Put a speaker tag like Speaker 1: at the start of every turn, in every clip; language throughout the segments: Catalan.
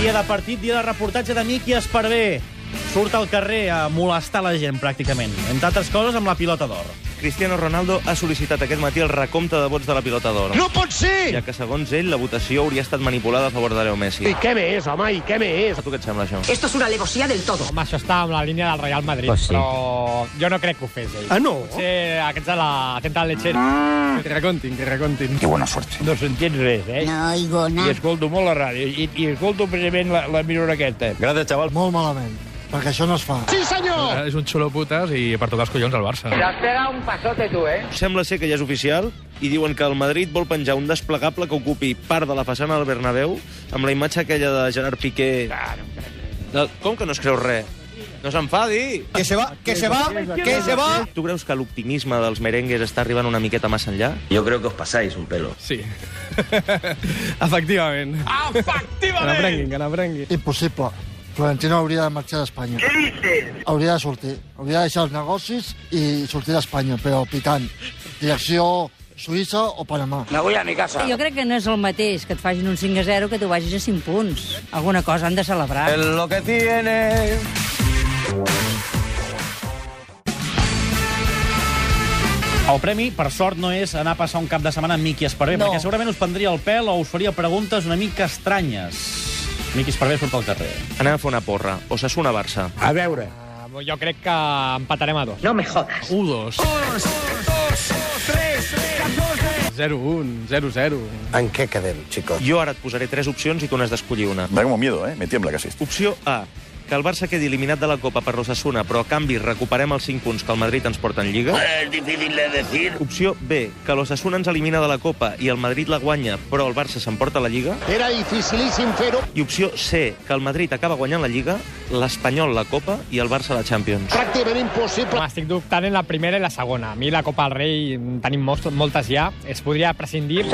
Speaker 1: Dia de partit, dia de reportatge d'amic i Esparvé. Surt al carrer a molestar la gent, pràcticament. Entre altres coses, amb la pilota d'or.
Speaker 2: Cristiano Ronaldo ha sol·licitat aquest matí el recompte de vots de la pilota d'or,
Speaker 3: ¡No pot ser!
Speaker 2: ja que, segons ell, la votació hauria estat manipulada a favor de Leo Messi.
Speaker 3: I què més, home, i què més?
Speaker 2: A tu què et sembla, això?
Speaker 4: Esto es una alevosía del todo.
Speaker 5: Home, això està amb la línia del Real Madrid,
Speaker 6: Pues sí.
Speaker 5: però jo no crec que ho fes ell.
Speaker 3: Ah, no?
Speaker 5: Potser aquests de la tenta del lechero. Que recontin, que recontin.
Speaker 7: Qué buena suerte.
Speaker 8: No s'entén res, eh?
Speaker 4: No oigo
Speaker 8: I escolto molt la ràdio, i, i escolto precisament la, la mirona aquesta.
Speaker 7: Gràcies, xaval.
Speaker 9: Molt malament, perquè això no es fa.
Speaker 3: Sí, senyor!
Speaker 10: És un xulo putes i per tocar els collons al Barça.
Speaker 2: Sembla ser que ja és oficial i diuen que el Madrid vol penjar un desplegable que ocupi part de la façana del Bernabéu amb la imatge aquella de Gerard Piqué. De... Com que no es creu res? No s'enfadi!
Speaker 9: Que se va, que se va, que se va.
Speaker 2: Tu creus que l'optimisme dels merengues està arribant una miqueta massa enllà?
Speaker 6: Yo creo que os pasáis un pelo.
Speaker 10: Sí. Efectivament. Que n'aprenguin, que n'aprenguin.
Speaker 9: Impossible. Florentino hauria de marxar d'Espanya. Hauria de sortir. Hauria de deixar els negocis i sortir d'Espanya, però pitant. Direcció Suïssa o Panamà.
Speaker 8: Ah.
Speaker 4: Jo crec que no és el mateix que et facin un 5 a 0 que tu vagis a 5 punts. Alguna cosa han de celebrar. El...
Speaker 1: El premi, per sort, no és anar a passar un cap de setmana amb Miqui Esparvé, no.
Speaker 9: No.
Speaker 1: perquè segurament us prendria el pèl o us faria preguntes una mica estranyes. Miqui Esparvé surt al carrer.
Speaker 2: Anem a fer una porra. O s'assuna Barça.
Speaker 8: A veure,
Speaker 5: Ah, Jo crec que empatarem a dos.
Speaker 4: No me jodas.
Speaker 10: 1-2. 0-1, 0-0.
Speaker 7: En què quedem, xicot?
Speaker 2: Jo ara et posaré tres opcions i tu n'has d'escollir una.
Speaker 7: Da como miedo, eh? Me tiembla casi.
Speaker 2: Opció A, que el Barça quedi eliminat de la Copa per l'Ossassuna, però a canvi recuperem els 5 punts que el Madrid ens porta en Lliga. Eh, És difícil de decir. Opció B, que l'Ossassuna ens elimina de la Copa i el Madrid la guanya, però el Barça s'emporta la Lliga.
Speaker 3: Era dificilíssim fer-ho.
Speaker 2: I opció C, que el Madrid acaba guanyant la Lliga, l'Espanyol la Copa i el Barça la Champions.
Speaker 3: Pràcticament impossible.
Speaker 5: Home, estic dubtant en la primera i la segona. A mi la Copa del Rei en tenim molts, moltes ja. Es podria prescindir.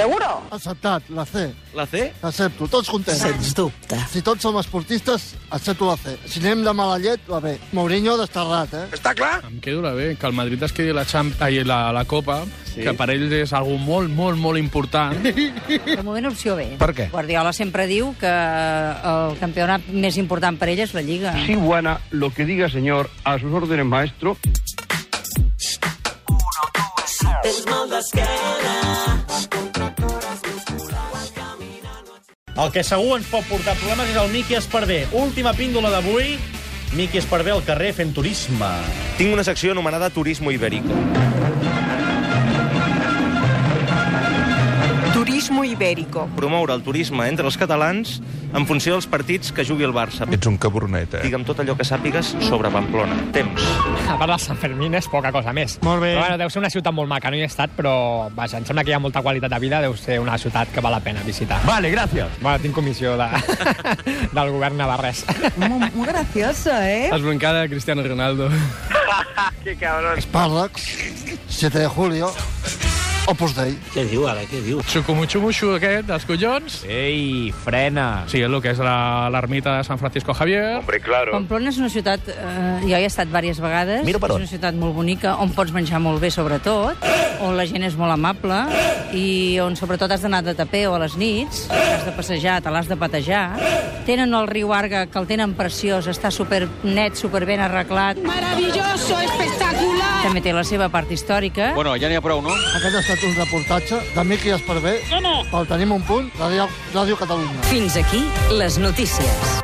Speaker 9: Acceptat, la C.
Speaker 2: La C?
Speaker 9: Accepto, tots contents. Sens dubte. Si tots som esportistes, accepto la C. Si anem de mala llet, la B. Mourinho desterrat, eh?
Speaker 10: Em quedo la B, que el Madrid es quedi la, Champ... Ai, la, la Copa, sí. que per ells és algo molt, molt, molt important.
Speaker 4: De moment, opció B.
Speaker 8: Per què?
Speaker 4: Guardiola sempre diu que el campionat més important per ell és la Lliga.
Speaker 8: Sí, buena, lo que diga, señor, a sus órdenes, maestro.
Speaker 1: El que segur ens pot portar problemes és el Miqui Esparvé. Última píndola d'avui, Miqui Esparvé al carrer fent turisme.
Speaker 2: Tinc una secció anomenada Turismo Ibérico.
Speaker 4: Turismo ibérico.
Speaker 2: Promoure el turisme entre els catalans en funció dels partits que jugui el Barça.
Speaker 7: Ets un cabornet,
Speaker 2: Digue'm tot allò que sàpigues sobre Pamplona. Temps.
Speaker 5: A part del Sant Fermín és poca cosa més.
Speaker 9: Molt bé.
Speaker 5: Però, bueno, deu ser una ciutat molt maca, no hi he estat, però vaja, em sembla que hi ha molta qualitat de vida, deu ser una ciutat que val la pena visitar.
Speaker 8: Vale, gracias.
Speaker 5: Bueno, tinc comissió de... del govern navarrès.
Speaker 4: Muy gracioso, eh?
Speaker 10: Desbloncada de Cristiano Ronaldo.
Speaker 9: Espàrrecs, 7 de julio, Opus Dei.
Speaker 10: Xucumuxumuxu aquest, dels collons.
Speaker 5: Ei, frena!
Speaker 10: Sí, és el que és la- l'ermita de Sant Francisco Javier.
Speaker 4: Pamplona és una ciutat, eh, jo hi he estat diverses vegades,
Speaker 6: Mira per
Speaker 4: és
Speaker 6: on.
Speaker 4: una ciutat molt bonica, on pots menjar molt bé, sobretot, on la gent és molt amable, i on sobretot has d'anar de tapeu a les nits, has de passejar, te l'has de patejar. Tenen el riu Arga, que el tenen preciós, està super net, super ben arreglat.
Speaker 11: Maravilloso, espectacular.
Speaker 4: També té la seva part històrica.
Speaker 6: Bueno, ya ni a prou, no?
Speaker 9: Aquest ha estat un reportatge de Miqui Esparvé. Pel Tenim un punt, Ràdio, Ràdio Catalunya.
Speaker 4: Fins aquí les notícies.